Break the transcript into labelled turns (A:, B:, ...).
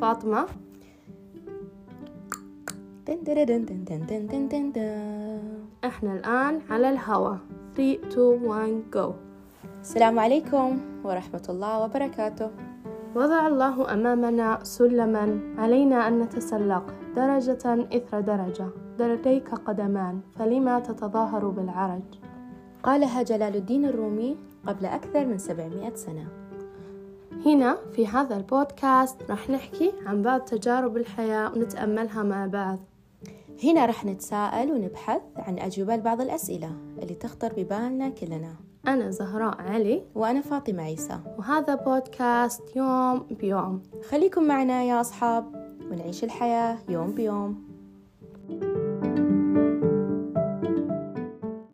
A: فاطمة
B: دن دن دن دن دن دن دن دن دن.
A: احنا الآن على الهوا 3 2 1 go
B: السلام عليكم ورحمة الله وبركاته
A: وضع الله أمامنا سلما علينا أن نتسلق درجة إثر درجة لديك قدمان فلما تتظاهر بالعرج
B: قالها جلال الدين الرومي قبل أكثر من 700 سنة
A: هنا في هذا البودكاست راح نحكي عن بعض تجارب الحياة ونتأملها مع بعض
B: هنا رح نتساءل ونبحث عن أجوبة لبعض الأسئلة اللي تخطر ببالنا كلنا
A: أنا زهراء علي
B: وأنا فاطمة عيسى
A: وهذا بودكاست يوم بيوم
B: خليكم معنا يا أصحاب ونعيش الحياة يوم بيوم